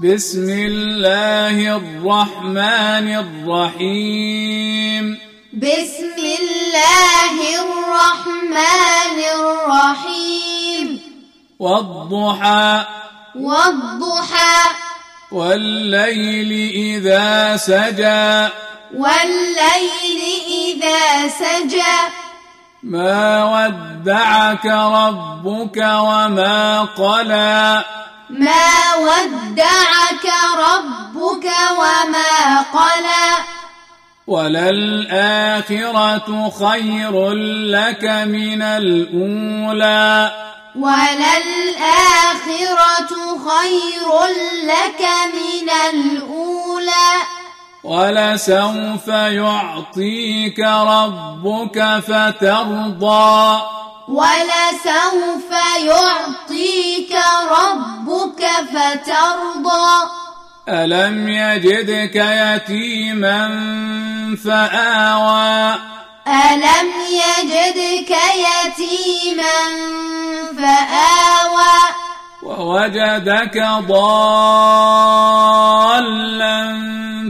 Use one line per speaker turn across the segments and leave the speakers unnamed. بسم الله الرحمن الرحيم
بسم الله الرحمن الرحيم
والضحى
والضحى
والليل إذا سجى
والليل إذا سجى
ما ودعك ربك وما قلى
ما ودعك ربك وما قلى
وللآخرة خير لك من الأولى
وللآخرة خير لك من الأولى
ولسوف يعطيك ربك فترضى
ولسوف يعطيك ربك فترضى
ألم يجدك يتيما فآوى
ألم يجدك يتيما فآوى
ووجدك ضالا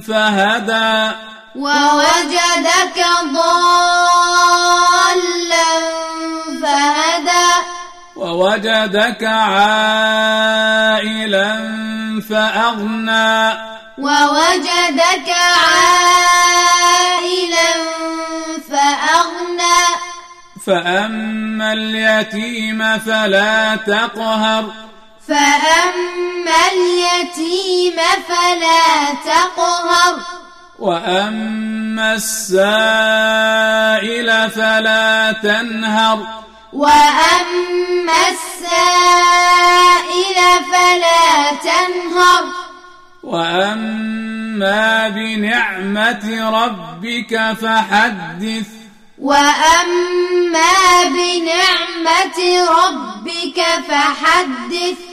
فهدى
ووجدك ضالا فهدى
ووجدك عائلا فأغنى
ووجدك عائلا فأغنى
فأما اليتيم فلا تقهر
فأما اليتيم فلا تقهر
وأما السائل فلا تنهر
وأما السائل فلا تنهر
وأما بنعمة ربك فحدث
وأما بنعمة ربك فحدث